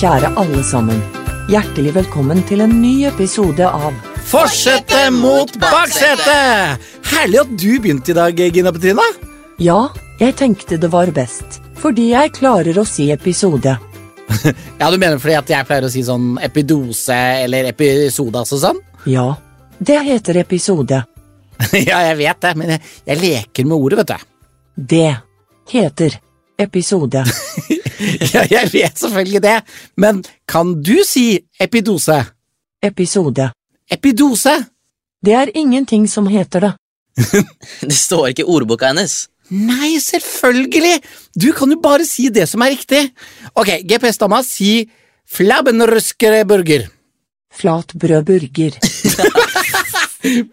Kjære alle sammen. Hjertelig velkommen til en ny episode av Fortsette mot baksetet! Herlig at du begynte i dag, Gina Petrina. Ja, jeg tenkte det var best, fordi jeg klarer å si episode. Ja, Du mener fordi at jeg pleier å si sånn epidose eller episodas og sånn? Ja, det heter episode. ja, jeg vet det, men jeg, jeg leker med ordet, vet du. Det heter episode. ja, jeg vet selvfølgelig det, men kan du si epidose? Episode. Epidose? Det er ingenting som heter det. Det står ikke i ordboka hennes. Nei, selvfølgelig! Du kan jo bare si det som er riktig. Ok, GPS-dama, si flabbenrøskere burger. Flatbrødburger.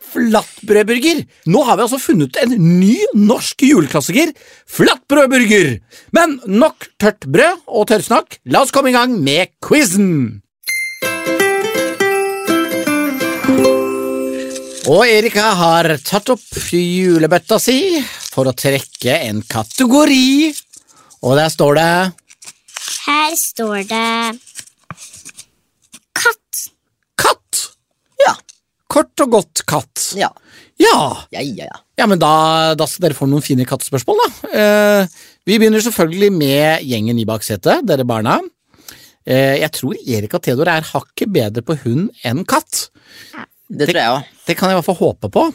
Flatbrødburger! Nå har vi altså funnet en ny norsk juleklassiker. Flatbrødburger! Men nok tørt brød og tørrsnakk. La oss komme i gang med quizen. Og Erika har tatt opp julebøtta si for å trekke en kategori. Og der står det Her står det katt. katt. Ja. Kort og godt katt. Ja. Ja, Ja, ja, ja. Ja, men da, da skal dere få noen fine kattespørsmål, da. Eh, vi begynner selvfølgelig med gjengen i baksetet, dere barna. Eh, jeg tror Erik og Theodor er hakket bedre på hund enn katt. Det tror jeg òg. Det kan jeg i hvert fall håpe på.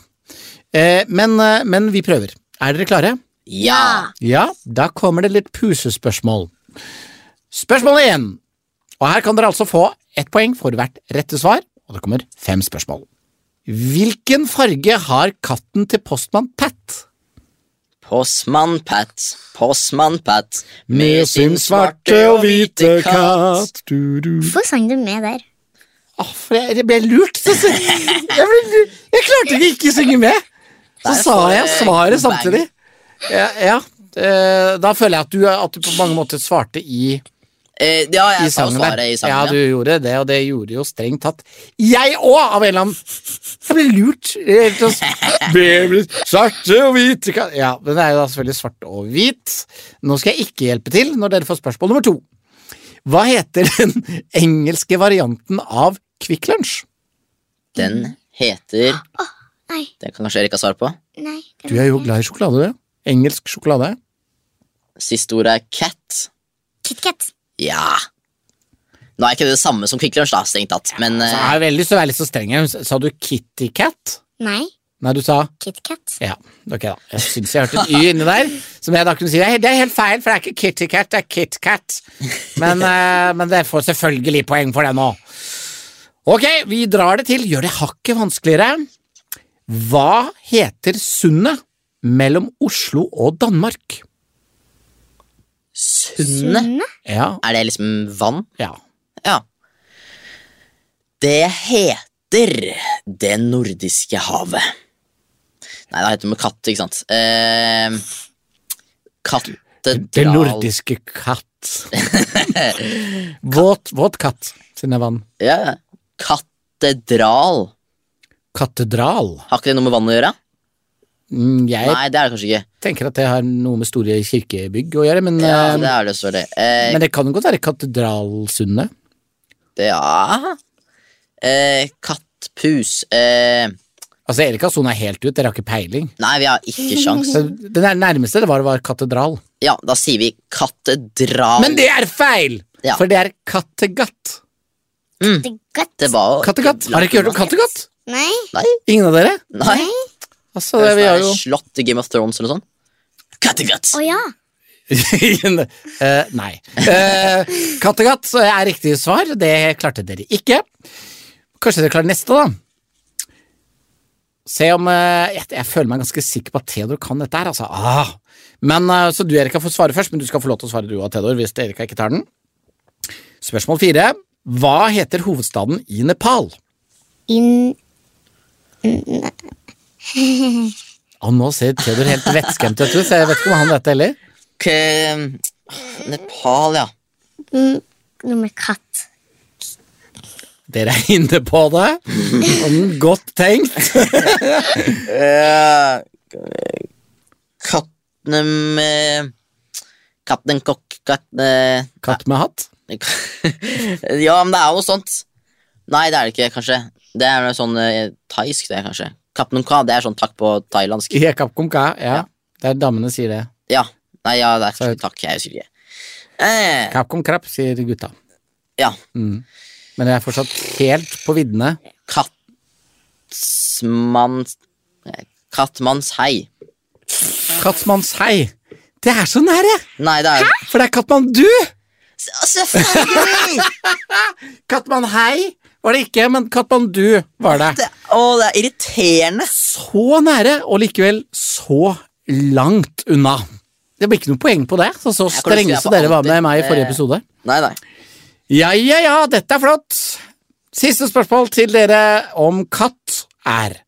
Eh, men, eh, men vi prøver. Er dere klare? Ja. Ja, da kommer det litt pusespørsmål. Spørsmål én. Og her kan dere altså få ett poeng for hvert rette svar, og det kommer fem spørsmål. Hvilken farge har katten til postmann Pat? Postmann Pat, postmann Pat, Med sin svarte og hvite katt du, du. Hvorfor sang du med der? Åh, for jeg, jeg ble lurt. så- så- Jeg, ble, lurt. jeg klarte ikke ikke å synge med. Så Der sa får jeg jeg svaret bang. samtidig. Ja, ja. eh, Da føler jeg at du, at du på mange måter svarte i, Eh, ja, i jeg sa jo sangen der. svaret i ja, sangen. du Ja, gjorde det, og det gjorde jo strengt tatt jeg òg, av en eller annen Jeg ble lurt. eh, til å s- Baby, svarte og hvite katt Ja, men det er jo da selvfølgelig svart og hvit. Nå skal jeg ikke hjelpe til når dere får spørsmål nummer to. Hva heter den engelske varianten av Kvikk Lunsj? Den heter Nei, Den kan kanskje Erik ha svar på. nei. det Du er jo glad i sjokolade, du. Engelsk sjokolade. Siste ordet er cat. var KitKat. Ja. Nå er ikke det det samme som Kvikk Lunsj, da, strengt tatt, men Så eh, er jeg veldig, så er jeg litt så streng. her. Sa du Kitty Cat? Nei, Nei, du sa KitKat. Ja, ok da. Jeg syns jeg hørte et Y inni der. Som jeg da kunne si det er- det er helt feil, for det er ikke Kitty Cat, det er Kit Kat. Men, eh, men dere får selvfølgelig poeng for det nå. Ok, vi drar det til. Gjør det hakket vanskeligere. Hva heter sundet mellom Oslo og Danmark? Sundet Ja, Er det liksom vann? ja. Ja. Det heter Det nordiske havet. Nei, det heter det med katt, ikke sant. Eh, Kattedal Det nordiske katt. Våt, våt katt, siden det er vann. Ja. Katedral. Katedral. Har ikke det noe med vann å gjøre? Mm, Jeg Nei, det er det kanskje ikke. tenker at det har noe med store kirkebygg å gjøre, men, Ja, eh, det er det selvfølgelig. Eh, men det kan jo godt være Katedralsundet. det, ja. Eh, kattpus. Eh, Altså, Erik har sona helt ut, dere har ikke peiling. nei, vi har ikke sjans. Så det der nærmeste det var, var katedral. Ja, da sier vi katedral. Men det er feil! Ja. For det er Kattegatt. Det er godt. Det var jo- Kattegatt. Har dere ikke hørt om Kattegatt? Nei, Ingen av dere? Nei. Altså, det, vi har jo Slott i Game of Thrones eller sånn. noe sånt? Kattegat! å ja. Eh, Nei. Eh, Kattegatt er riktig svar. Det klarte dere ikke. Kanskje dere klarer neste, da. Se om eh, jeg, jeg føler meg ganske sikker på at Theodor kan dette her, altså. Ah. Men, eh, så du, Erika, får svare først, men du skal få lov til å svare du og Theodor hvis Erika ikke tar den. Spørsmål fire. Hva heter hovedstaden i Nepal? Inn Og nå ser Theodor helt vettskremt ut, så jeg vet ikke om han vet det heller. K- mm, Nepal, ja. nummer katt. Dere er inne på det. Mm, Godt tenkt. Eh, Katten med Katten kokk Katten Katt med hatt. ja, men det er jo noe sånt. Nei, det er det ikke, kanskje. Det er noe sånn eh, thaisk, det, kanskje. Kapnunka, det er sånn takk på thailandsk. Ja, Kapkom Ka, ja. Det er damene sier det. Ja. Nei, ja, det er kanskje takk, jeg husker ikke. Eh, Kapkom Krapp, sier gutta. ja. Mm. Men jeg er fortsatt helt på viddene. Kattmann... Kattmannshei. Kattmannshei! Det er så nære! Nei, det er For det er Katmandu! Selvfølgelig! Katmanhei var det ikke, men Katmandu var det. Det, å, det er irriterende. Så nære, og likevel så langt unna. Det blir ikke noe poeng på det, så så Jeg kan strenge si at som dere var alltid, med meg i forrige eh, episode. Nei, nei. Ja, ja, ja, dette er flott! Siste spørsmål til dere om katt er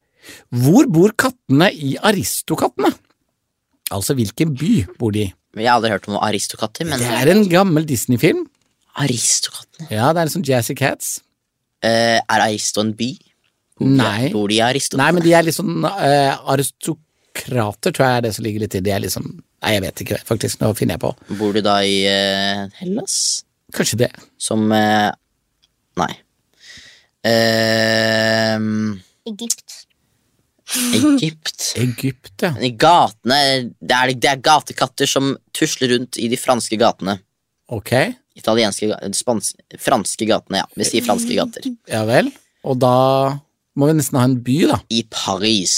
Hvor bor kattene i Aristokattene? Altså, hvilken by bor de i? Jeg har aldri hørt om aristokatter, men Det er en gammel Disney-film. aristokattene Ja, det er liksom Jazzy Cats. Eh, Er Aristo en by? Nei. Bor de i Aristo? Nei, men de er litt sånn eh, aristokrater, tror jeg er det som ligger litt i. De er liksom Nei, jeg vet ikke, faktisk. Nå finner jeg på. Bor de da i eh, Hellas? Kanskje det. Som eh, Nei. Ehm, Egypt. Egypt Egypt, ja. I gatene det er, det er gatekatter som tusler rundt i de franske gatene. Ok, Italienske ga- spans, Franske gatene, ja. Vi sier franske gater. ja vel. Og da må vi nesten ha en by, da. I Paris.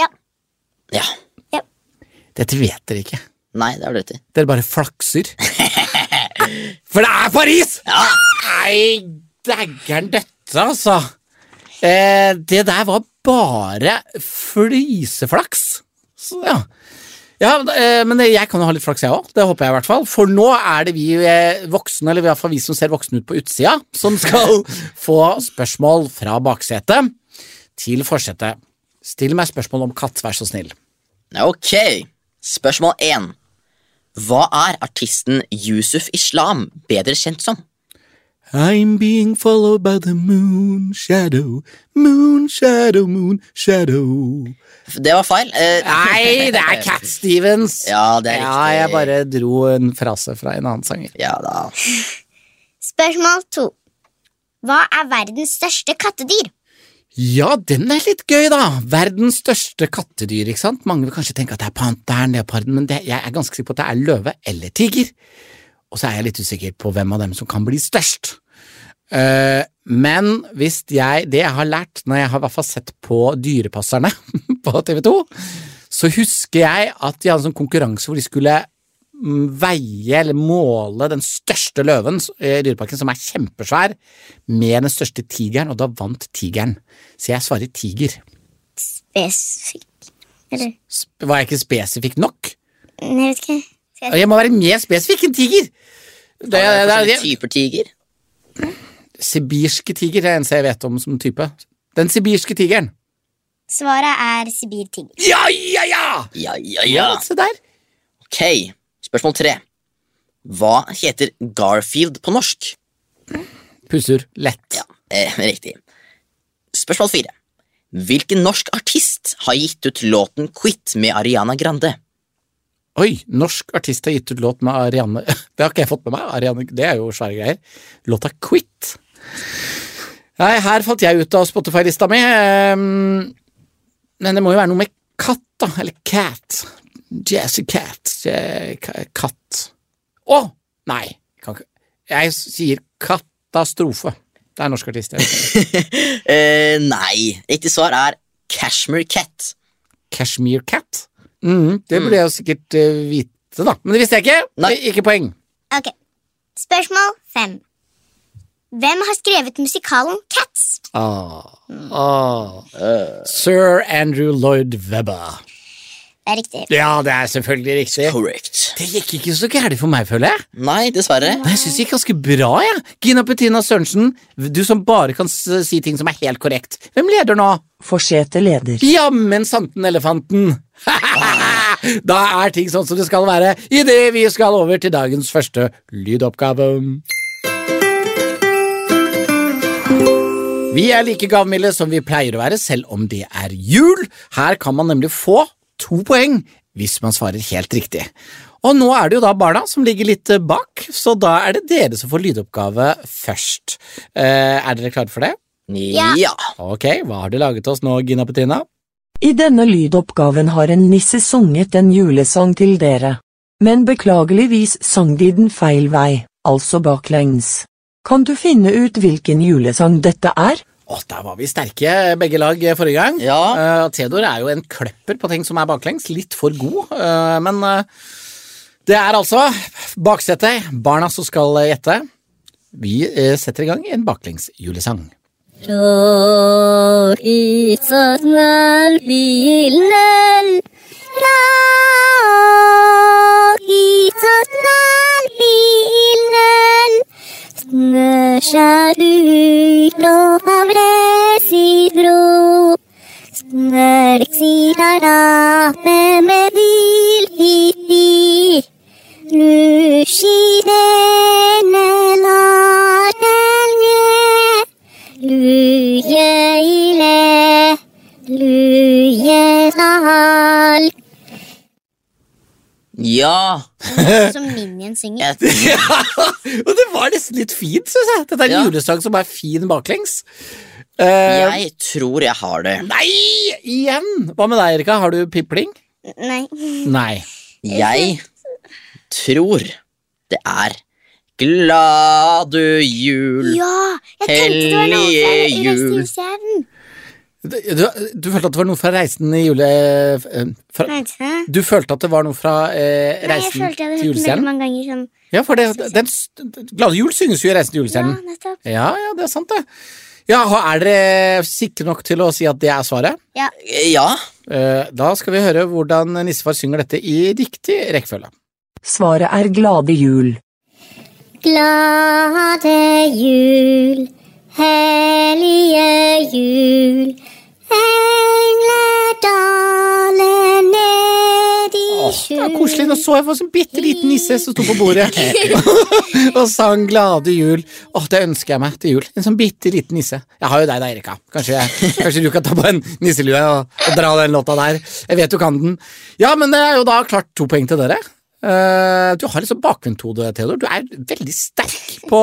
Ja. Ja. Dette vet dere ikke. Nei, det har du rett i. Dere bare flakser. For det er Paris! Ja! Nei, dægger'n dette, altså. Eh, det der var bare fliseflaks. Så, ja. Ja, men, eh, men jeg kan jo ha litt flaks, jeg òg. Det håper jeg i hvert fall. For nå er det vi eh, voksne, eller i hvert fall vi som ser voksne ut på utsida, som skal få spørsmål fra baksetet til forsetet. Still meg spørsmål om katt, vær så snill. Ok, spørsmål 1 Hva er artisten Yusuf Islam bedre kjent som? I'm being followed by the moon shadow, moon shadow, moon shadow. Det var feil eh, Nei, det er Cat Stevens. Ja, det er Ja, riktig. jeg bare dro en frase fra en annen sanger. Ja da Spørsmål to. Hva er verdens største kattedyr? Ja, den er litt gøy, da. Verdens største kattedyr, ikke sant? Mange vil kanskje tenke at det er panteren, leoparden, men det, jeg er ganske sikker på at det er løve eller tiger. Og så er jeg litt usikker på hvem av dem som kan bli størst. Eh, men hvis jeg Det jeg har lært når jeg har i hvert fall sett på Dyrepasserne på TV2, så husker jeg at de hadde en sånn konkurranse hvor de skulle mm, veie eller måle den største løven s- i Dyreparken, som er kjempesvær, med den største tigeren, og da vant tigeren. Så jeg svarer tiger. Spesifikk? Eller Sp- Var jeg ikke spesifikk nok? Nei, jeg vet ikke. Skal jeg... Jeg må være mer spesifikk enn tiger! Det, Eh, det, Han er det, forskjellige det, typer tiger sibirske tiger er en som jeg vet om som type. Den sibirske tigeren. Svaret er sibirtiger. Ja, ja, ja! Ja, ja, ja Se der. Ok, spørsmål 3 Hva heter Garfield på norsk? Pusser. Lett. Ja, eh, riktig Spørsmål 4 Hvilken norsk artist har gitt ut låten Quit med Ariana Grande? Oi, norsk artist har gitt ut låt med Ariane Det har ikke jeg fått med meg. Ariane, det er jo svære greier. Låta Quit. Nei, her falt jeg ut av Spotify-lista mi. ehm, Men det må jo være noe med katt, da. Eller cat. Jazzy cat. Ja, ka- Katt. Å! Nei. Kan ikke. Jeg sier katastrofe. Det er norsk artist. jeg vet ikke. Eh, nei, riktig svar er Cashmere Cat Cashmere Cat. Mhm, det burde jeg jo sikkert eh, vite, da. Men det visste jeg ikke. Nei. Ikke poeng. Ok. Spørsmål fem. Hvem har skrevet musikalen Cats? Ah. Ah. Sir Andrew Lloyd Webber. Det er riktig. Ja, det er selvfølgelig riktig. Correct Det gikk ikke så gærent for meg, føler jeg. Nei, dessverre. Nei, Jeg synes det gikk ganske bra, jeg. Gina Petina Sørensen, du som bare kan s- si ting som er helt korrekt. Hvem leder nå? Forsete leder. Jammen santen elefanten! da er ting sånn som det skal være idet vi skal over til dagens første lydoppgave. Vi er like gavmilde som vi pleier å være, selv om det er jul. Her kan man nemlig få to poeng hvis man svarer helt riktig. Og nå er det jo da barna som ligger litt eh, bak, så da er det dere som får lydoppgave først. Eh, er dere klare for det? Ja. ja. Ok, hva har du laget oss nå, Gina Petina? I denne lydoppgaven har en nisse sunget en julesang til dere. Men beklageligvis sang de den feil vei, altså baklengs. Kan du finne ut hvilken julesang dette er? Å, der var vi sterke, begge lag, eh, forrige gang. Ja. Eh, Theodor er jo en klepper på ting som er baklengs. Litt for god, eh, men eh, det er altså baksetet, barna som skal eh, gjette. Vi eh, setter i gang en baklengsjulesang. Rår isotnal bilnal Rår isotnal bilnal Snøsjalu lovavle sidro Snørk sidarape med vilfiti Lushidene ladelnje Luye ile, luye lal. Ja. Som Minion synger. Jeg, Og det var nesten litt fint, syns jeg. Dette er en Ja. julesang som er fin baklengs. Eh, jeg tror jeg har det. Nei, igjen! Hva med deg, Erika? Har du pipling? Nei. Nei. Jeg tror det er Glade jul. Ja! Jeg tenkte det var noe fra Hellige Reisen i jul. julestjernen. Du, du, du følte at det var noe fra Reisen i jule... eh, Fra, Vent, hæ? Du følte at det var noe fra eh, Nei, jeg Reisen følte jeg hadde til hørt den veldig julestjernen? mange ganger sånn. Ja, for det, den, s- Glade jul synges jo i Reisen til Ja, julestjernen. nettopp. Ja, ja, det er sant, det. Ja, og Er dere sikre nok til å si at det er svaret? Ja. Eh, Da skal vi høre hvordan nissefar synger dette i riktig rekkefølge. Svaret er Glade jul. Glade jul, hellige jul. Engler daler ned i Det var skjul. koselig. Nå så jeg for en bitte liten nisse som sto på bordet og sang 'Glade jul'. Åh, Det ønsker jeg meg til jul. En sånn bitte liten nisse. Jeg har jo deg da, Erika. Kanskje, kanskje du kan ta på en nisselue og, og dra den låta der. Jeg vet du kan den. Ja, men det er jo da klart to poeng til dere. Eh, du har litt sånn bakvendthode, Theodor. Du er veldig sterk på,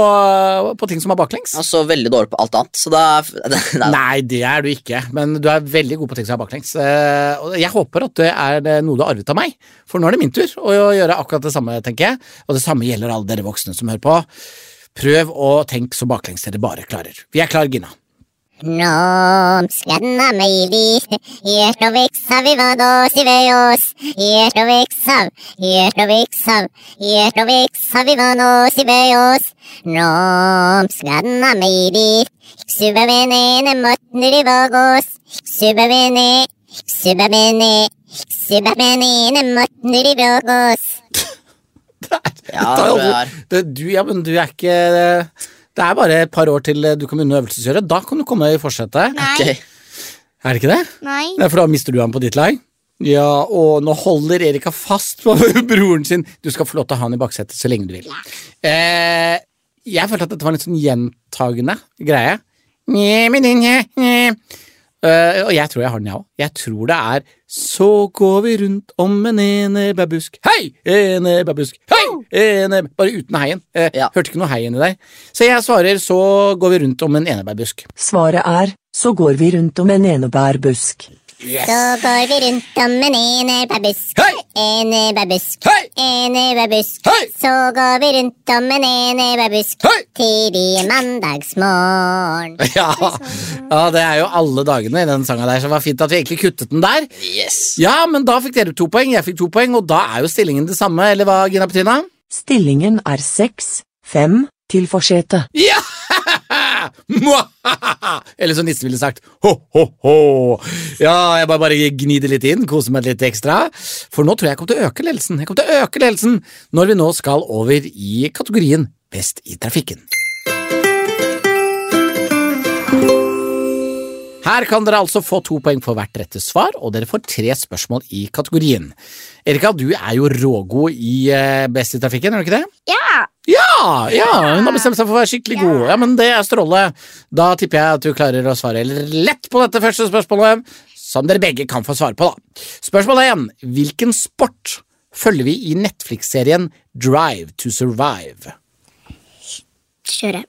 på ting som er baklengs. Han så veldig dårlig på alt annet, så da Nei. Nei, det er du ikke, men du er veldig god på ting som er baklengs. Eh, og Jeg håper at det er eh, noe du har arvet av meg, for nå er det min tur å gjøre akkurat det samme, tenker jeg. Og det samme gjelder alle dere voksne som hører på. Prøv å tenke så baklengs dere bare klarer. Vi er klar, Gina. Romskanna meilis, hjertoviksav i vados i vejos, hjertoviksav, hjertoviksav, hjertoviksav i vados i vejos, romskanna meilis, subavene motner i vagos, subavene, subavene, subavene motner i vagos. Ja, Da- det tror jeg er. det, du, ja, men du er ikke eh, Det er bare et par år til eh, du kan begynne å øvelseskjøre. Da kan du komme i forsetet. Nei. Ok. Er det ikke det? Nei. Nei, for da mister du ham på ditt lag. Ja, og nå holder Erika fast på broren sin. Du skal få lov til å ha han i baksetet så lenge du vil. Eh, jeg følte at dette var en litt sånn gjentagende greie. Nye, men den her, nye. Eh, og jeg tror jeg har den, jeg òg. Jeg tror det er Så går vi rundt om en enebærbusk. Hei, enebærbusk. Hei, ene... Bare uten heien. Eh, Ja. Hørte ikke noe hei inni der. Så jeg svarer Så går vi rundt om en enebærbusk. Svaret er Så går vi rundt om en enebærbusk. Så går vi rundt om en enebærbusk, Hei! enebærbusk, Hei! enebærbusk. Hei! Så går vi rundt om en enebærbusk, Hei! tidlig mandagsmorgen. Ja. ja, det er jo alle dagene i den sangen der, så det var fint at vi egentlig kuttet den der. Yes. Ja, men da fikk dere to poeng, jeg fikk to poeng, og da er jo stillingen det samme, eller hva, Gina Petrina? Stillingen er 6-5 til forsetet. Ja! Mwahaha! Eller som nissen ville sagt, ho-ho-ho. Ja, jeg bare, bare gni det litt inn, kose meg litt ekstra. For nå tror jeg jeg kommer til å øke ledelsen. Jeg kommer til å øke ledelsen når vi nå skal over i kategorien Best i trafikken. Her kan dere altså få to poeng for hvert rette svar, og dere får tre spørsmål i kategorien. Erika, du er jo rågod i eh, Best i trafikken, er du ikke det? Ja! Ja, ja, hun har bestemt seg for å være skikkelig god. Ja, men det er strålende. Da tipper jeg at du klarer å svare lett på dette første spørsmålet, som dere begge kan få svare på, da. Spørsmål én. Hvilken sport følger vi i Netflix-serien Drive to Survive. Kjøre.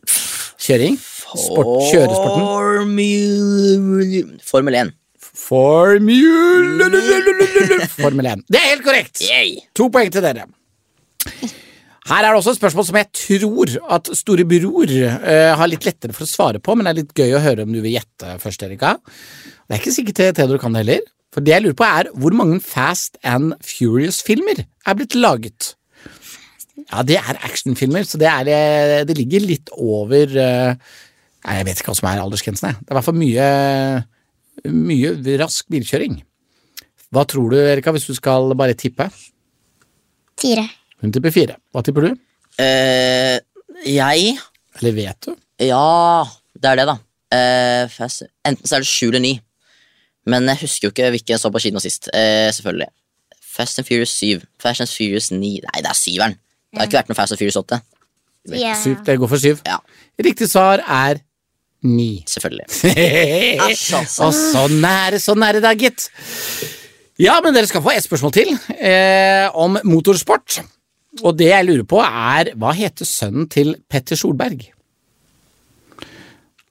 Kjøring? Sport, kjøresporten? Formel, Formel 1. Formule Formel 1. Det er helt korrekt! To poeng til dere. Her er det også et spørsmål som jeg tror at Store Bror eh, har litt lettere for å svare på, men det er litt gøy å høre om du vil gjette først, Erika. Det er ikke sikkert eh, Theodor kan det heller. For det jeg lurer på, er hvor mange Fast and Furious-filmer er blitt laget? Ja, det er actionfilmer, så det, er, eh, det ligger litt over eh, Nei, jeg vet ikke hva som er aldersgrensen, jeg. Det er i hvert fall mye mye rask bilkjøring. Hva tror du, Erika, hvis du skal bare tippe? Fire. Hun tipper fire. Hva tipper du? Eh, jeg Eller vet du? Ja, det er det, da. Eh, fast- enten så er det sju eller ni. Men jeg husker jo ikke hvilke jeg så på kino sist. Eh, selvfølgelig. Fast and Furious 7. Fast and Furious 9. Nei, det er syveren. Det har ikke vært noe Fast and Furious 8. Ja. Syv. Det går for syv. Ja. Riktig svar er ni. Selvfølgelig. Æsj, altså. Og sånn er det, sånn er det da, gitt. Ja, men dere skal få ett spørsmål til eh, om motorsport. Og det jeg lurer på, er hva heter sønnen til Petter Solberg?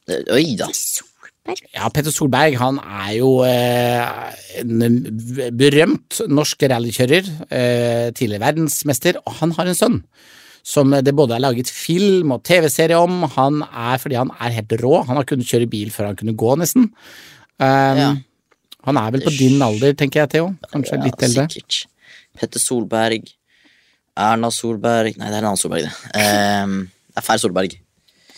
Eh, Oi da. Ja, Petter Solberg han er jo eh, en berømt norsk rallykjører. Eh, tidligere verdensmester. Og han har en sønn som det både er laget film og TV-serie om. Han er fordi han er helt rå. Han har kunnet kjøre bil før han kunne gå, nesten. Um, Ja. Han er vel på din alder, tenker jeg, Theo. Kanskje Ja, litt eldre. Sikkert. Petter Solberg. Erna Solberg Nei, det er en annen Solberg, det. Eh, det er Fær Solberg.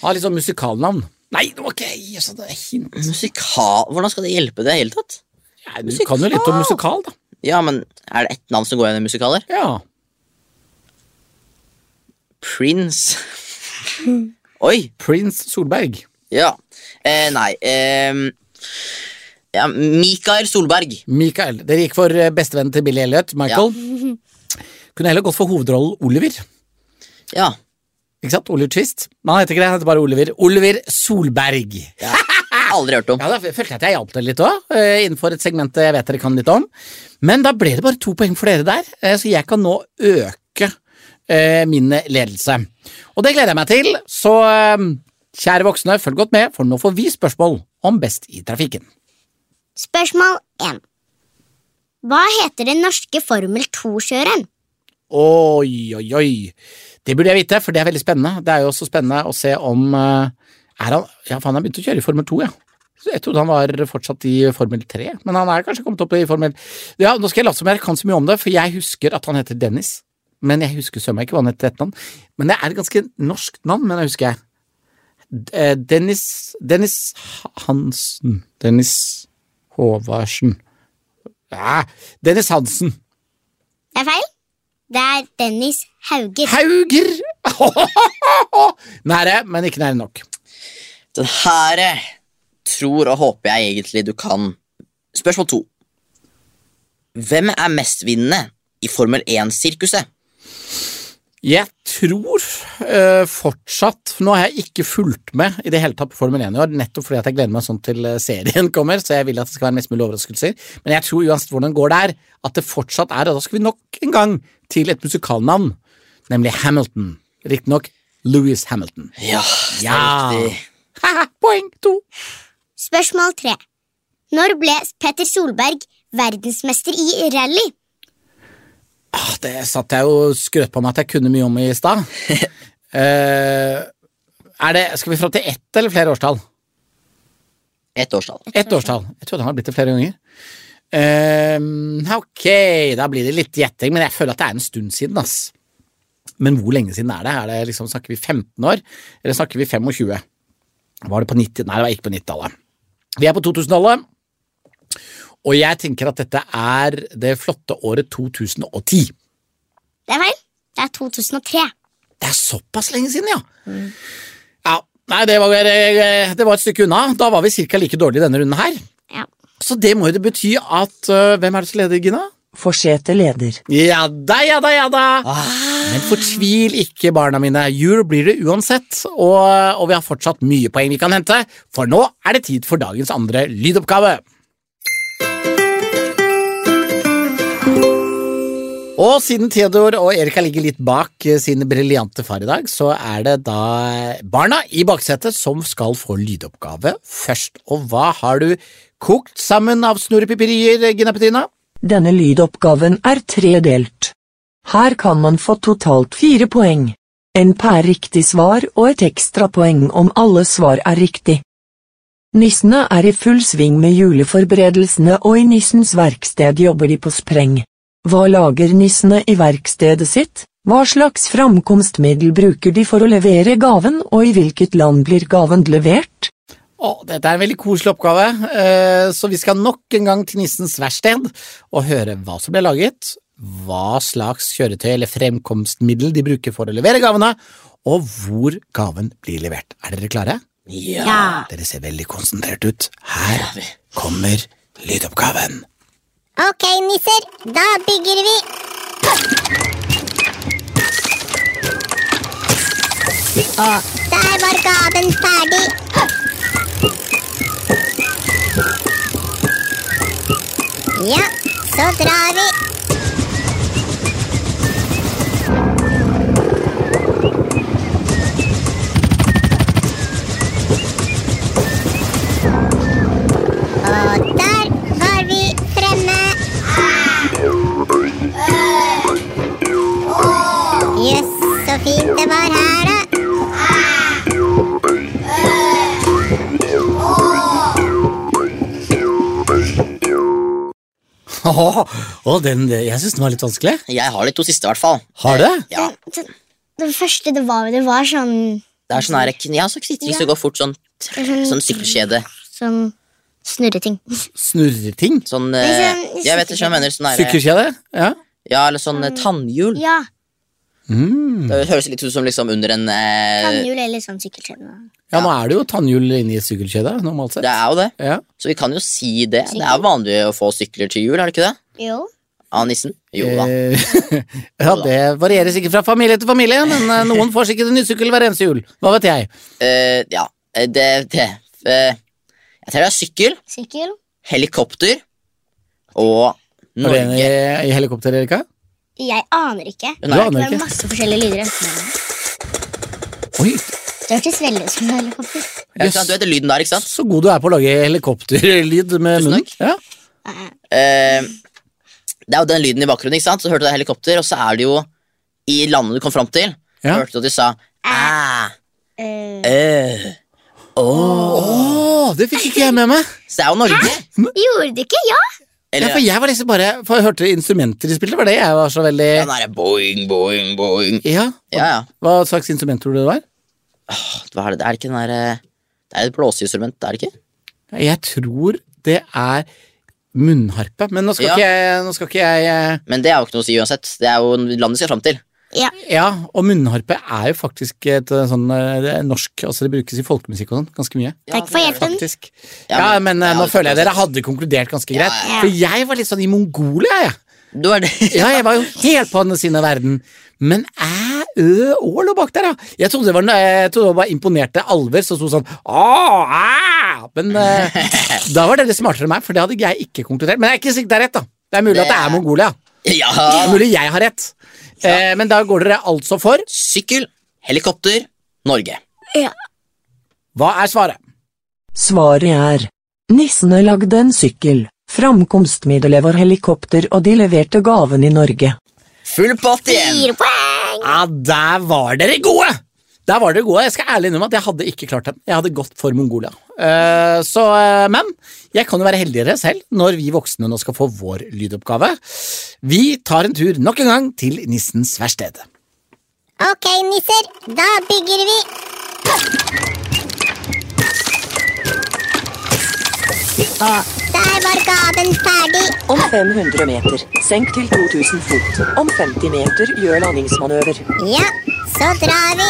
Har litt sånn musikalnavn. Nei, det var ikke jeg! Så det er hint. Musikal Hvordan skal det hjelpe det i det hele tatt? Ja, du kan jo litt om musikal, da. Ja, men er det ett navn som går igjen i musikaler? Ja. Prince. Oi! Prince Solberg. Ja. Eh, nei ehm, ja, Mikael Solberg. Michael. Dere gikk for eh, bestevennen til Billy Elliot, Michael. Kunne heller gått for hovedrollen Oliver. Ja. Ikke sant? Oliver Twist. Men han heter ikke det, han heter bare Oliver. Oliver Solberg. Ja, Aldri hørt om. da følte jeg at jeg hjalp dere litt òg, innenfor et segment jeg vet dere kan litt om. Men da ble det bare to poeng for dere der, eh, så jeg kan nå øke eh, min ledelse. Og det gleder jeg meg til, så eh, kjære voksne, følg godt med, for nå får vi spørsmål om Best i trafikken. Spørsmål 1. Hva heter den norske Formel 2-kjøreren? Oi, oi, oi. Det burde jeg vite, for det er veldig spennende. Det er jo også spennende å se om eh, er han, Ja, for han har begynt å kjøre i Formel 2, ja. Så Jeg trodde han var fortsatt i Formel 3, men han er kanskje kommet opp i Formel Ja, Nå skal jeg late som jeg kan så mye om det, for jeg husker at han heter Dennis. Men jeg husker søren meg ikke hva han heter til etternavn. Men det er et ganske norsk navn, men jeg husker jeg. D- eh, Dennis Dennis Hansen. Dennis Håvardsen. Ja, Dennis Hansen. Det er feil. Det er Dennis Hauger. Hauger! Nære, men ikke nære nok. Den her eh, tror og håper jeg egentlig du kan. Spørsmål to. Hvem er mestvinnende i Formel 1-sirkuset? Jeg tror eh, fortsatt for Nå har jeg ikke fulgt med i det hele tatt på Formel 1 i år, nettopp fordi at jeg gleder meg sånn til eh, serien kommer, så jeg vil at det skal være mest mulig overraskelser. Men jeg tror uansett hvordan det går der, at det fortsatt er Og da skal vi nok en gang til et musikalnavn, nemlig Hamilton. Riktignok Louis Hamilton. Ja, det er Ja. riktig. Haha, Poeng to! Spørsmål 3. Når ble Petter Solberg verdensmester i rally? Ah, det satt jeg og skrøt på meg at jeg kunne mye om i stad. Eh, er det, skal vi fram til ett eller flere årstall? Ett årstall. Ett årstall. Jeg trodde han har blitt det flere ganger. Eh, ok, da blir det litt gjetting, men jeg føler at det er en stund siden. ass. Men hvor lenge siden er det? Er det liksom, snakker vi 15 år, eller snakker vi 25? Var det på 90? Nei, det var ikke på 90-tallet. Vi er på 2000-tallet, og jeg tenker at dette er det flotte året 2010. Det er feil. Det er 2003. Det er såpass lenge siden, ja. Ja, nei, det var, eh, det var et stykke unna. Da var vi ca. like dårlige i denne runden her. Ja. Så det må jo det bety at øh, Hvem er det som leder, Gina? Forsete leder. Ja da, ja da, ja da! Men fortvil ikke, barna mine. Jul blir det uansett. Og, og vi har fortsatt mye poeng vi kan hente, for nå er det tid for dagens andre lydoppgave. Og siden Theodor og Erika ligger litt bak eh, sin briljante far i dag, så er det da barna i baksetet som skal få lydoppgave først. Og hva har du kokt sammen av snurrepiperier, Gina Petrina? Denne lydoppgaven er tredelt. Her kan man få totalt fire poeng. En per riktig svar og et ekstra poeng om alle svar er riktig. Nissene er i full sving med juleforberedelsene og i nissens verksted jobber de på spreng. Hva lager nissene i verkstedet sitt? Hva slags framkomstmiddel bruker de for å levere gaven, og i hvilket land blir gaven levert? Å, dette er en veldig koselig oppgave, eh, så vi skal nok en gang til Nissens verksted og høre hva som ble laget, hva slags kjøretøy eller fremkomstmiddel de bruker for å levere gavene, og hvor gaven blir levert. Er dere klare? Ja. Dere ser veldig konsentrert ut. Her kommer lydoppgaven. Ok, nisser, da bygger vi. Og der var gaven ferdig. Ja, så drar vi. Og der var vi fremme. Jøss, så fint det var her, da. Åh, åh, den, jeg syns den var litt vanskelig. Jeg har de to siste, i hvert fall. Har du? Ja, Det, det første det var, det var sånn, det er sånn her, ja, så knitring som går fort, sånn, sånn sykkelkjede. sånn snurreting. Snurreting? Sånn, eh, Nei, sånn jeg vet ikke hva jeg mener, sånn her, Sykkelkjede? Ja. ja, eller sånn eh, tannhjul. Ja, Mm. Det høres litt ut som liksom under en, eh, tannhjul eller sånn sykkelkjede. ja, nå er det jo tannhjul inni sykkelkjedet, normalt det sett. er jo det. Ja. Så vi kan jo si det. Det er vanlig å få sykler til jul, er det ikke det? Jo. Av nissen? Jo da. Eh, ja, det varierer sikkert fra familie til familie, men eh, noen får sikkert en ny sykkel hver eneste jul. Hva vet jeg? Eh, ja, eh, det, det eh, Jeg tror det er sykkel, Sykkel? helikopter Har og du en i, Norge. i helikopter, Erika? Jeg aner ikke. Du aner Det er ikke? masse forskjellige lyder. enten eller. Oi, Det hørtes veldig ut som en helikopter. Ja, ikke sant? Du vet lyden der, ikke sant? så god du er på å lage helikopterlyd med Tusen munnen. Ja. Eh, det er jo den lyden i bakgrunnen, ikke sant? Så hørte du det er helikopter, og så er det jo i landet du kom fram til, Ja. hørte du at de sa "Ah, Ah. æ, Eh, øh. Åh, det fikk ikke jeg med meg. Så det er jo Norge. gjorde du ikke? Ja! Ja, Eller for jeg var liksom bare For jeg hørte instrumenter de spilte, var det jeg var så veldig den derre boing, boing, boing. Ja. Ja, ja. Hva slags instrument tror du det var? Hva er det? Det er ikke den derre Det er et blåseinstrument, er det ikke? Jeg tror det er munnharpe, men nå skal Ja. ikke jeg, nå skal ikke jeg eh, Men det er jo ikke noe å si uansett. Det er jo landet skal fram til. Ja, og munnharpe er jo faktisk et eh, sånn eh, det er norsk Altså det brukes i folkemusikk og sånn ganske mye. Takk for hjelpen. Faktisk. Ja, Ja, men eh, nå det- føler jeg dere hadde konkludert ganske greit. ja, ja. For jeg var litt sånn i Mongolia, jeg. Du er det. Ja, jeg var jo helt på andre siden av verden. Men æ, ø, å lå bak der, ja. Jeg trodde det var, jeg trodde det var imponerte alver som sto sånn å, æ. Men eh, da var dere smartere enn meg, for det hadde jeg ikke konkludert. Men jeg er ikke sikkert det er rett, da. Det er mulig Det at det er er- Mongolia. Det Ja. er mulig jeg har rett. Eh, men da går dere altså for Sykkel, helikopter, Norge. Hva er svaret? Svaret er Nissene lagde en sykkel, framkomstmiddelet var helikopter og de leverte gaven i Norge. Full pott igjen! Fire poeng! Ja, der var dere gode! Der var dere gode. Jeg skal ærlig innrømme at jeg hadde ikke klart den. Jeg hadde gått for Mongolia. Eh, så, eh, men jeg kan jo være heldigere selv når vi voksne nå skal få vår lydoppgave. Vi tar en tur nok en gang til nissens verksted. Ok, nisser, da bygger vi. Og der var gaven ferdig. Om 500 meter, senk til 2000 fot. Om 50 meter, gjør landingsmanøver. Ja, så drar vi.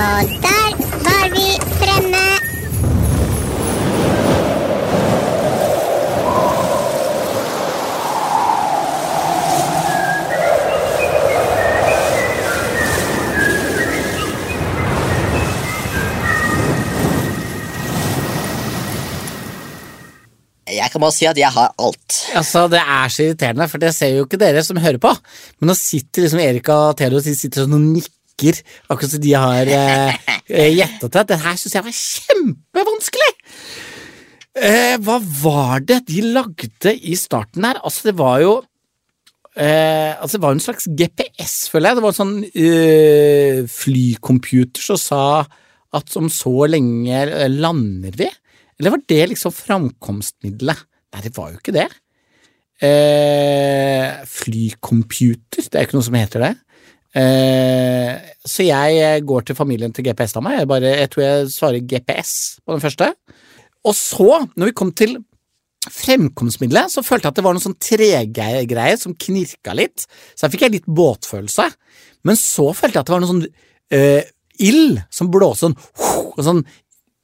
Og der var vi fremme. må si at jeg har alt. Altså, Det er så irriterende, for det ser jo ikke dere som hører på. Men nå sitter liksom Erika og Theodor de sitter sånn og nikker, akkurat som de har eh, eh, gjettet det. Det her syns jeg var kjempevanskelig! Eh, hva var det de lagde i starten her? Altså, det var jo Eh, altså Det var jo en slags GPS, føler jeg. Det var en sånn eh, flycomputer som sa at om så lenge eh, lander vi. Eller var det liksom framkomstmiddelet? Nei, det var jo ikke det. Eh, flycomputer, det er jo ikke noe som heter det. Eh, så jeg eh, går til familien til GPS-dama. Jeg, bare- jeg tror jeg svarer GPS på den første. Og så, når vi kom til fremkomstmiddelet, så følte jeg at det var noen sånn tregreier som knirka litt. Så da fikk jeg litt båtfølelse. Men så følte jeg at det var noe sånn eh, ild som blåste sånn, og sånn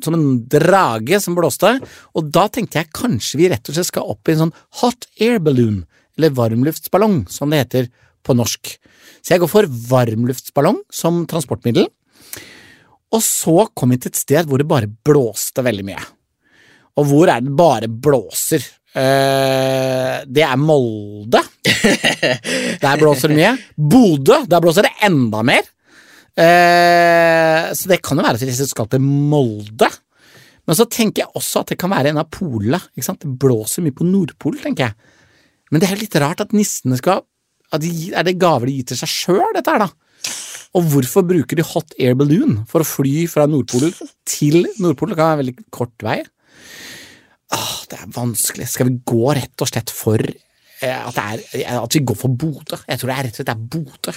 som en drage som blåste. Og da tenkte jeg kanskje vi rett og slett skal opp i en sånn hot air balloon, eller varmluftsballong, som det heter på norsk. Så jeg går for varmluftsballong som transportmiddel. Og så kom vi til et sted hvor det bare blåste veldig mye. Og hvor er det bare blåser? Eh, det er Molde. Der blåser det mye. Bodø. Der blåser det enda mer. Eh, så det kan jo være at vi skal til Molde. Men så tenker jeg også at det kan være en av polene. Ikke sant? Det blåser mye på Nordpolen, tenker jeg. Men det er jo litt rart at nissene skal at de, gir- Er det gaver de gir til seg sjøl, dette her, da? Og hvorfor bruker de hot air balloon for å fly fra Nordpolen til Nordpolen? Det kan være en veldig kort vei. Åh, det er vanskelig. Skal vi gå rett og slett for eh, at, det er, eh, at vi går for Bodø? Jeg tror det er rett og slett det er Bodø.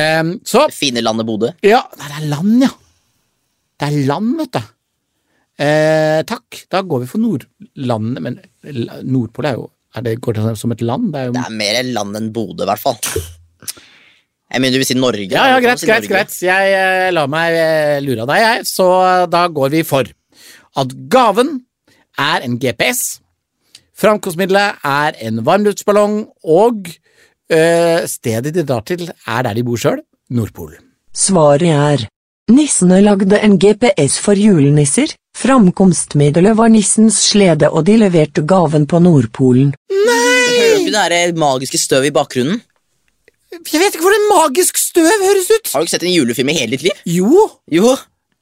Ehm, så Fine landet Bodø. Ja, nei, det er land, ja. Det er land, vet du. Eh, takk. Da går vi for Nordlandet, men la- Nordpolen er jo er det, Går det som et land? Det er jo Det er mer land enn Bodø, i hvert fall. Jeg mener, du vil si Norge? Ja, ja, da. Du kan greit, si greit, Norge. greit. Jeg eh, lar meg eh, lure av deg, jeg. Så eh, da går vi for at gaven er en GPS, framkomstmiddelet er en varmluftsballong, og eh, stedet de drar til, er der de bor sjøl, Nordpolen. Svaret er Nissene lagde en GPS for julenisser, framkomstmiddelet var nissens slede og de leverte gaven på Nordpolen. Hører du ikke det der magiske støvet i bakgrunnen? Jeg vet ikke hvordan magisk støv høres ut! Har du ikke sett en julefilm i hele ditt liv? Jo! Jo.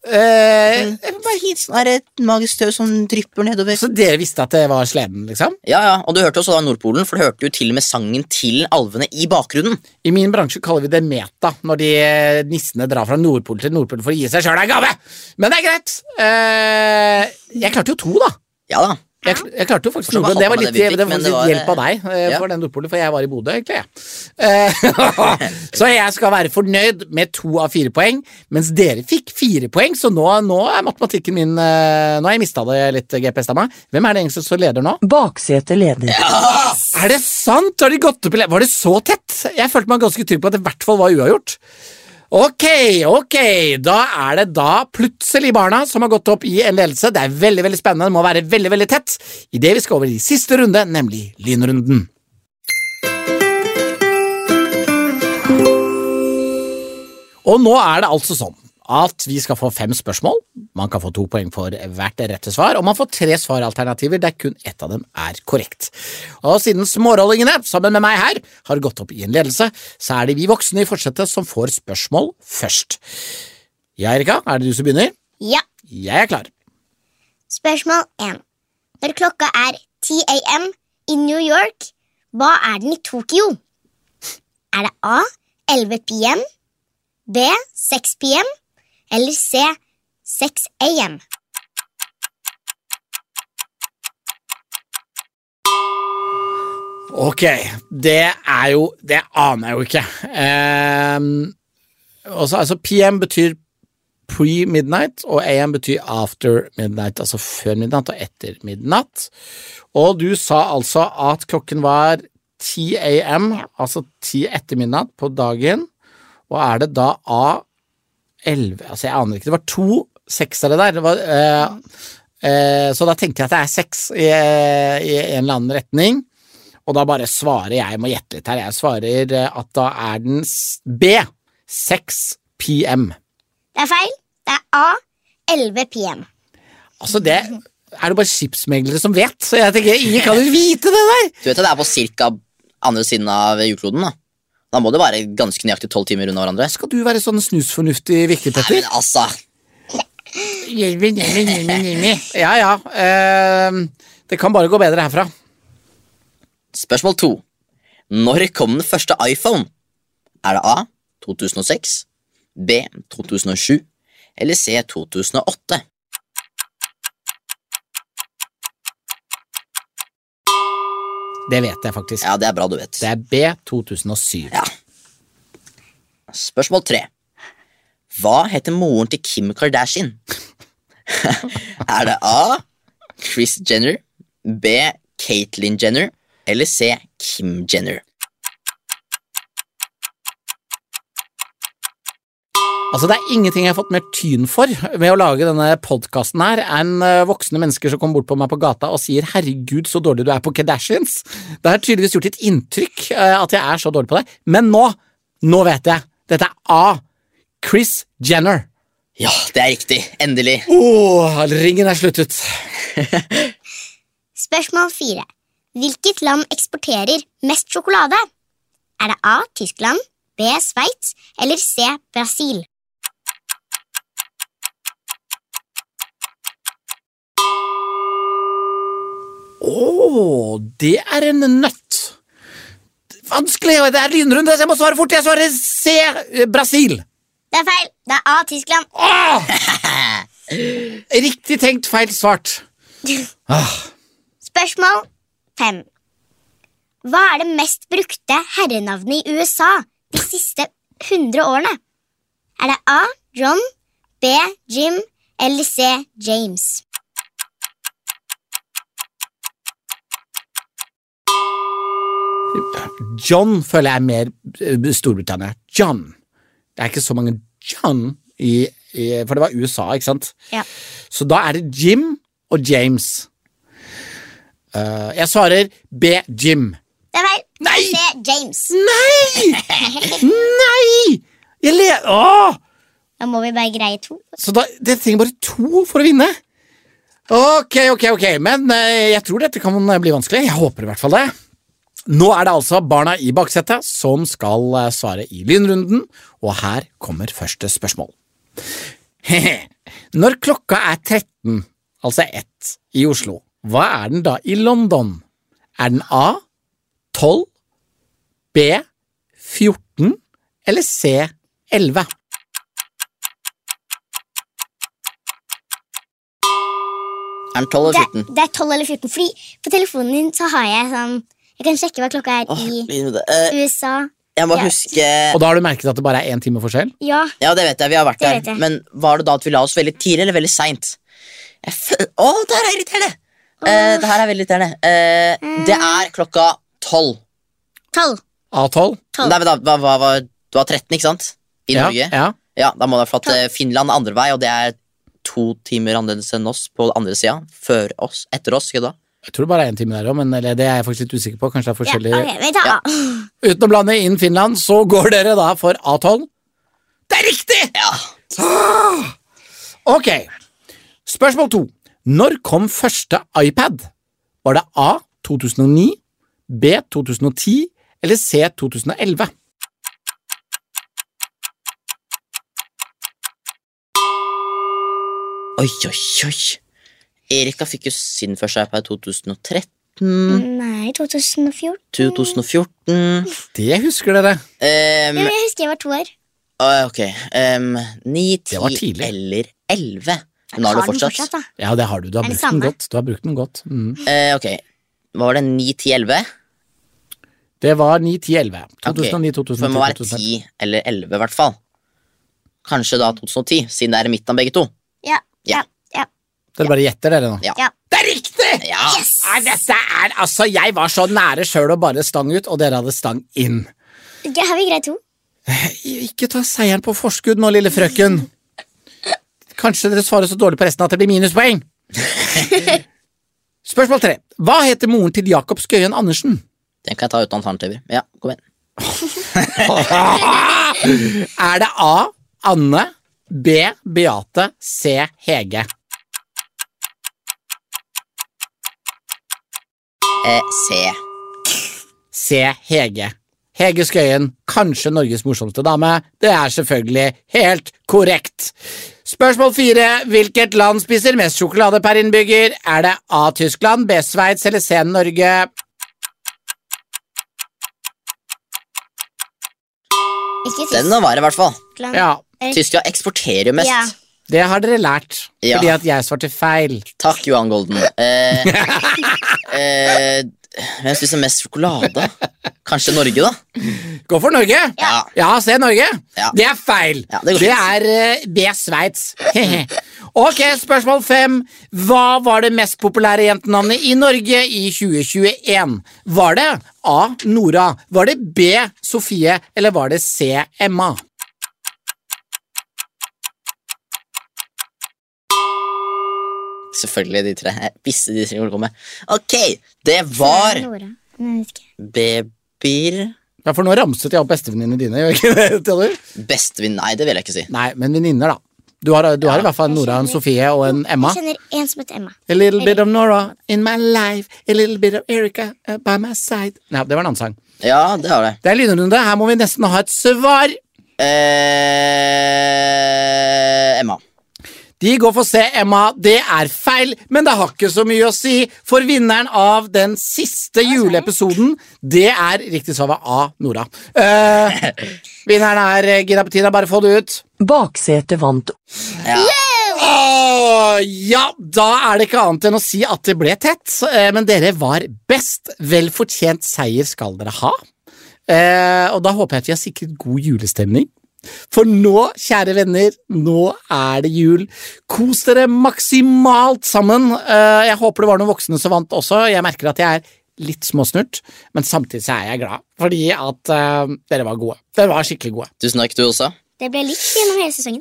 Eh, Bare hit, sånn er det et magisk støv som drypper nedover. så dere visste at det var sleden, liksom? Ja, ja, og du hørte også da Nordpolen, for du hørte jo til og med sangen til alvene i bakgrunnen. I min bransje kaller vi det meta, når de eh, nissene drar fra Nordpolen til Nordpolen for å gi seg sjøl en gave. Men det er greit. Eh, jeg klarte jo to, da. Ja da. Jeg, kl- jeg klarte jo faktisk Forstår Nordpolen. hva Det var hoppet litt, det vi fikk, det var men det litt var, hjelp av deg eh, ja. for den Nordpolen, for jeg var i Bodø, egentlig. jeg. Eh, så jeg skal være fornøyd med to av fire poeng, mens dere fikk fire poeng, så nå, nå er matematikken min eh, Nå har jeg mista det litt, GPS-dama. Hvem er det egentlig som står leder nå? Baksete leder. Er det sant? Har de gått opp i le- Var det så tett? Jeg følte meg ganske trygg på at det i hvert fall var uavgjort. Ok, ok, da er det da plutselig barna som har gått opp i en ledelse. Det er veldig veldig spennende, det må være veldig veldig tett idet vi skal over i siste runde, nemlig lynrunden. Og nå er det altså sånn at vi skal få fem spørsmål. Man kan få to poeng for hvert rette svar, og man får tre svaralternativer der kun ett av dem er korrekt. Og siden smårollingene, sammen med meg her, har gått opp i en ledelse, så er det vi voksne i fortsettet som får spørsmål først. Ja, Erika, er det du som begynner? Ja. Jeg er klar. Spørsmål 1. Når klokka er 10 am i New York, hva er den i Tokyo? Er det A 11 pm, B 6 pm eller C 6 am? Ok, det er jo Det aner jeg jo ikke. Ehm, også, altså PM betyr pre-midnight, og AM betyr after midnight, altså før midnatt og etter midnatt. Og du sa altså at klokken var 10 AM, altså 10 etter midnatt på dagen, og er det da A11 Altså, jeg aner ikke. Det var to seksere der. Det var, eh, eh, så da tenker jeg at det er seks i, eh, i en eller annen retning. Og da bare svarer jeg, jeg må gjette litt her, jeg svarer eh, at da er den s- B. 6 PM. Det er feil. Det er A 11 pm. Altså det er det bare skipsmeglere som vet. Så jeg tenker, ingen kan jo vite det der! Du vet at det er på cirka andre siden av jordkloden, da. Da må det være ganske nøyaktig tolv timer unna hverandre. Skal du være sånn snusfornuftig Nei, viklepetter? men altså, Ja, ja. ehm, det kan bare gå bedre herfra. Spørsmål to. Når kom den første iPhone? Er det A. 2006, B. 2007 eller C. 2008? Det vet jeg faktisk. Ja, det er bra du vet. Det er B 2007. Ja. Spørsmål tre. Hva heter moren til Kim Kardashian? er det A. Chris Jenner, B. Caitlyn Jenner eller C. Kim Jenner? Altså Det er ingenting jeg har fått mer tyn for med å lage denne podkasten her, enn eh, voksne mennesker som kommer bort på meg på gata og sier 'herregud, så dårlig du er på Kardashians'. Det har tydeligvis gjort et inntrykk eh, at jeg er så dårlig på det, men nå, nå vet jeg. Dette er A. Chris Jenner. Ja, det er riktig. Endelig. Åh, ringen er sluttet. Spørsmål 4. Hvilket land eksporterer mest sjokolade? Er det A. Tyskland, B. Sveits eller C. Brasil? Åh, det er en nøtt. Vanskelig, det er lynrunde, så jeg må svare fort. Jeg svarer C. eh, Brasil. Det er feil. Det er A. Tyskland. Åh! Riktig tenkt, feil svart. Spørsmål 5. Hva er det mest brukte herrenavnet i USA de siste 100 årene? Er det A. John, B. Jim eller C. James? John føler jeg er mer eh, Storbritannia. John. Det er ikke så mange John i, i For det var USA, ikke sant? Ja. Så da er det Jim og James. Eh, jeg svarer B. Jim. Det er feil. Nei! C. James. Nei! Nei! Jeg le... Åh! Da må vi bare greie to. Så da, det trenger bare to for å vinne. Ok, ok, ok, men eh, jeg tror dette kan eh, bli vanskelig. Jeg håper i hvert fall det. Nå er det altså barna i baksetet som skal eh, svare i lynrunden, og her kommer første spørsmål. Når klokka er 13, altså 1, i Oslo, hva er den da i London? Er den A 12, B 14 eller C 11? Er den 12 og Det, 14? det er 12 eller 14, fordi på telefonen din så har jeg sånn Jeg kan sjekke hva klokka er Åh, i min hode. Eh, USA. jeg må Ja. huske Og da har du merket at det bare er én time forskjell? Ja, Ja, det vet jeg. Vi har vært Det der. vet jeg. Men var det da at vi la oss veldig tidlig eller veldig seint? Jeg føl- Å, det her er irriterende! Eh, det her er veldig irriterende. Eh, det er klokka tolv. 12. A12? Tolv. Nei, men da hva- hva- hva- Du var 13, ikke sant? I ja, Norge. Ja. Ja, da må det være for at eh, Finland er andre vei, og det er to timer annerledes enn oss på andre sida. Før oss. Etter oss, ikke da? Jeg tror det bare er én time der òg, men eller, det er jeg faktisk litt usikker på. Kanskje det er Ja, forskjellig ok, vi tar A. Uten å blande inn Finland, så går dere da for A12. Det er riktig! Ja. Ok. Spørsmål to. Når kom første iPad? Var det A 2009, B 2010 eller C 2011? Oi, oi, oi. Erika fikk jo sin første iPad i 2013. Mm. Nei, 2014. 2014 Det husker dere. um, Ja, men jeg husker jeg var to år. Å, Ok. Um, 9, Det var 10 tidlig. eller 11. Hun har Har det den fortsatt. da. Ja, det har du. Du har Er det brukt den samme? godt. Du har brukt den godt. Mm. Eh, ok. Hva var det? 9, 10, 11? Det var 9, 10, 11. Ok, 2009, For det må 2010, være 10 eller 11 i hvert fall. Kanskje da 2010, siden det er i midten av begge to. Ja, Ja. ja, ja. Dere bare gjetter, dere nå. Ja. ja. Det er riktig! Ja. Nei, dette er, altså, Jeg var så nære sjøl og bare stang ut, og dere hadde stang inn. Ok, Har vi greid to? Ikke ta seieren på forskudd nå, lille frøken. Kanskje dere svarer så dårlig på resten at det blir minuspoeng. Spørsmål tre. Hva heter moren til Jakob Skøyen Andersen? Den kan jeg ta uten alternativer. Ja, kom igjen. Er det A. Anne, B. Beate, C. Hege? Eh, C. Se Hege. Hege Skøyen, kanskje Norges morsomste dame. Det er selvfølgelig helt korrekt. Spørsmål fire. Hvilket land spiser mest sjokolade per innbygger? Er det A. Tyskland, B. Sveits eller C. Norge? Ikke Den nå var det, i hvert fall. Tyskland. Ja, Tyskland eksporterer jo mest. Ja. det har dere lært. Ja. Fordi at jeg svarte feil. Takk, Johan Golden. Eh, eh, hvem spiser mest sjokolade? Kanskje Norge, da? Gå for Norge! Ja. Ja, se Norge! Ja. Det er feil! Ja, det går det er, eh, det er Sveits. ok, spørsmål fem. Hva var det mest populære jentenavnet i Norge i 2021? Var det A. Nora? Var det B. Sofie? Eller var det C. Emma? Selvfølgelig de tre. Jeg visste de tre ville komme. Ok, det var Nora. Nei, jeg vet ikke. babyer Ja, for nå ramset jeg opp bestevenninnene dine. gjør jeg ikke det, Theodor? Bestevinn Nei, det vil jeg ikke si. Nei, men venninner, da. Du har, du har i hvert fall Nora, en Sofie og en Emma. Jeg kjenner en som heter Emma. A little bit of Nora in my life, a little bit of Erica uh, by my side. Nei, det var en annen sang. Ja, det har det. Det er lynrunde. Her må vi nesten ha et svar. Eh, Emma. De går for C, Emma. Det er feil, men det har ikke så mye å si. For vinneren av den siste juleepisoden, det er riktig svar var A, Nora. Eh, vinneren er eh, Gina Bettina. Bare få det ut. Baksetet vant. Ja. Åh, ja, da er det ikke annet enn å si at det ble tett. eh, Men dere var best. Vel fortjent seier skal dere ha. Eh, Og da håper jeg at vi har sikret god julestemning. For nå, kjære venner, nå er det jul. Kos dere maksimalt sammen. Eh, Jeg håper det var noen voksne som vant også. Jeg merker at jeg er litt småsnurt, men samtidig så er jeg glad. Fordi at eh, dere var gode. Dere var skikkelig gode. Tusen takk, du også. Det ble likt gjennom hele sesongen.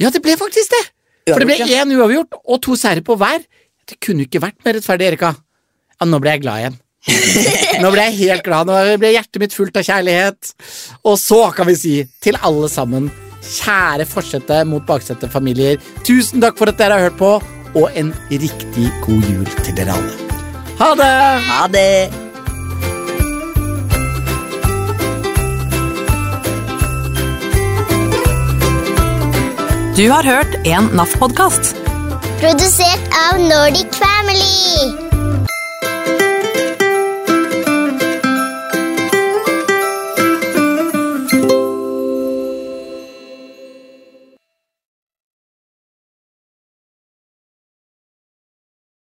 Ja, det ble faktisk det. For det ble Uavgjort, én uavgjort og to seire på hver. Det kunne ikke vært mer rettferdig, Erika. Ja, nå ble jeg glad igjen. nå ble jeg helt glad. Nå ble hjertet mitt fullt av kjærlighet. Og så kan vi si til alle sammen, kjære forsette mot baksettefamilier, tusen takk for at dere har hørt på, og en riktig god jul til dere alle. Ha det! Ha det! Du har hørt en NAF-podkast. Produsert av Nordic Family.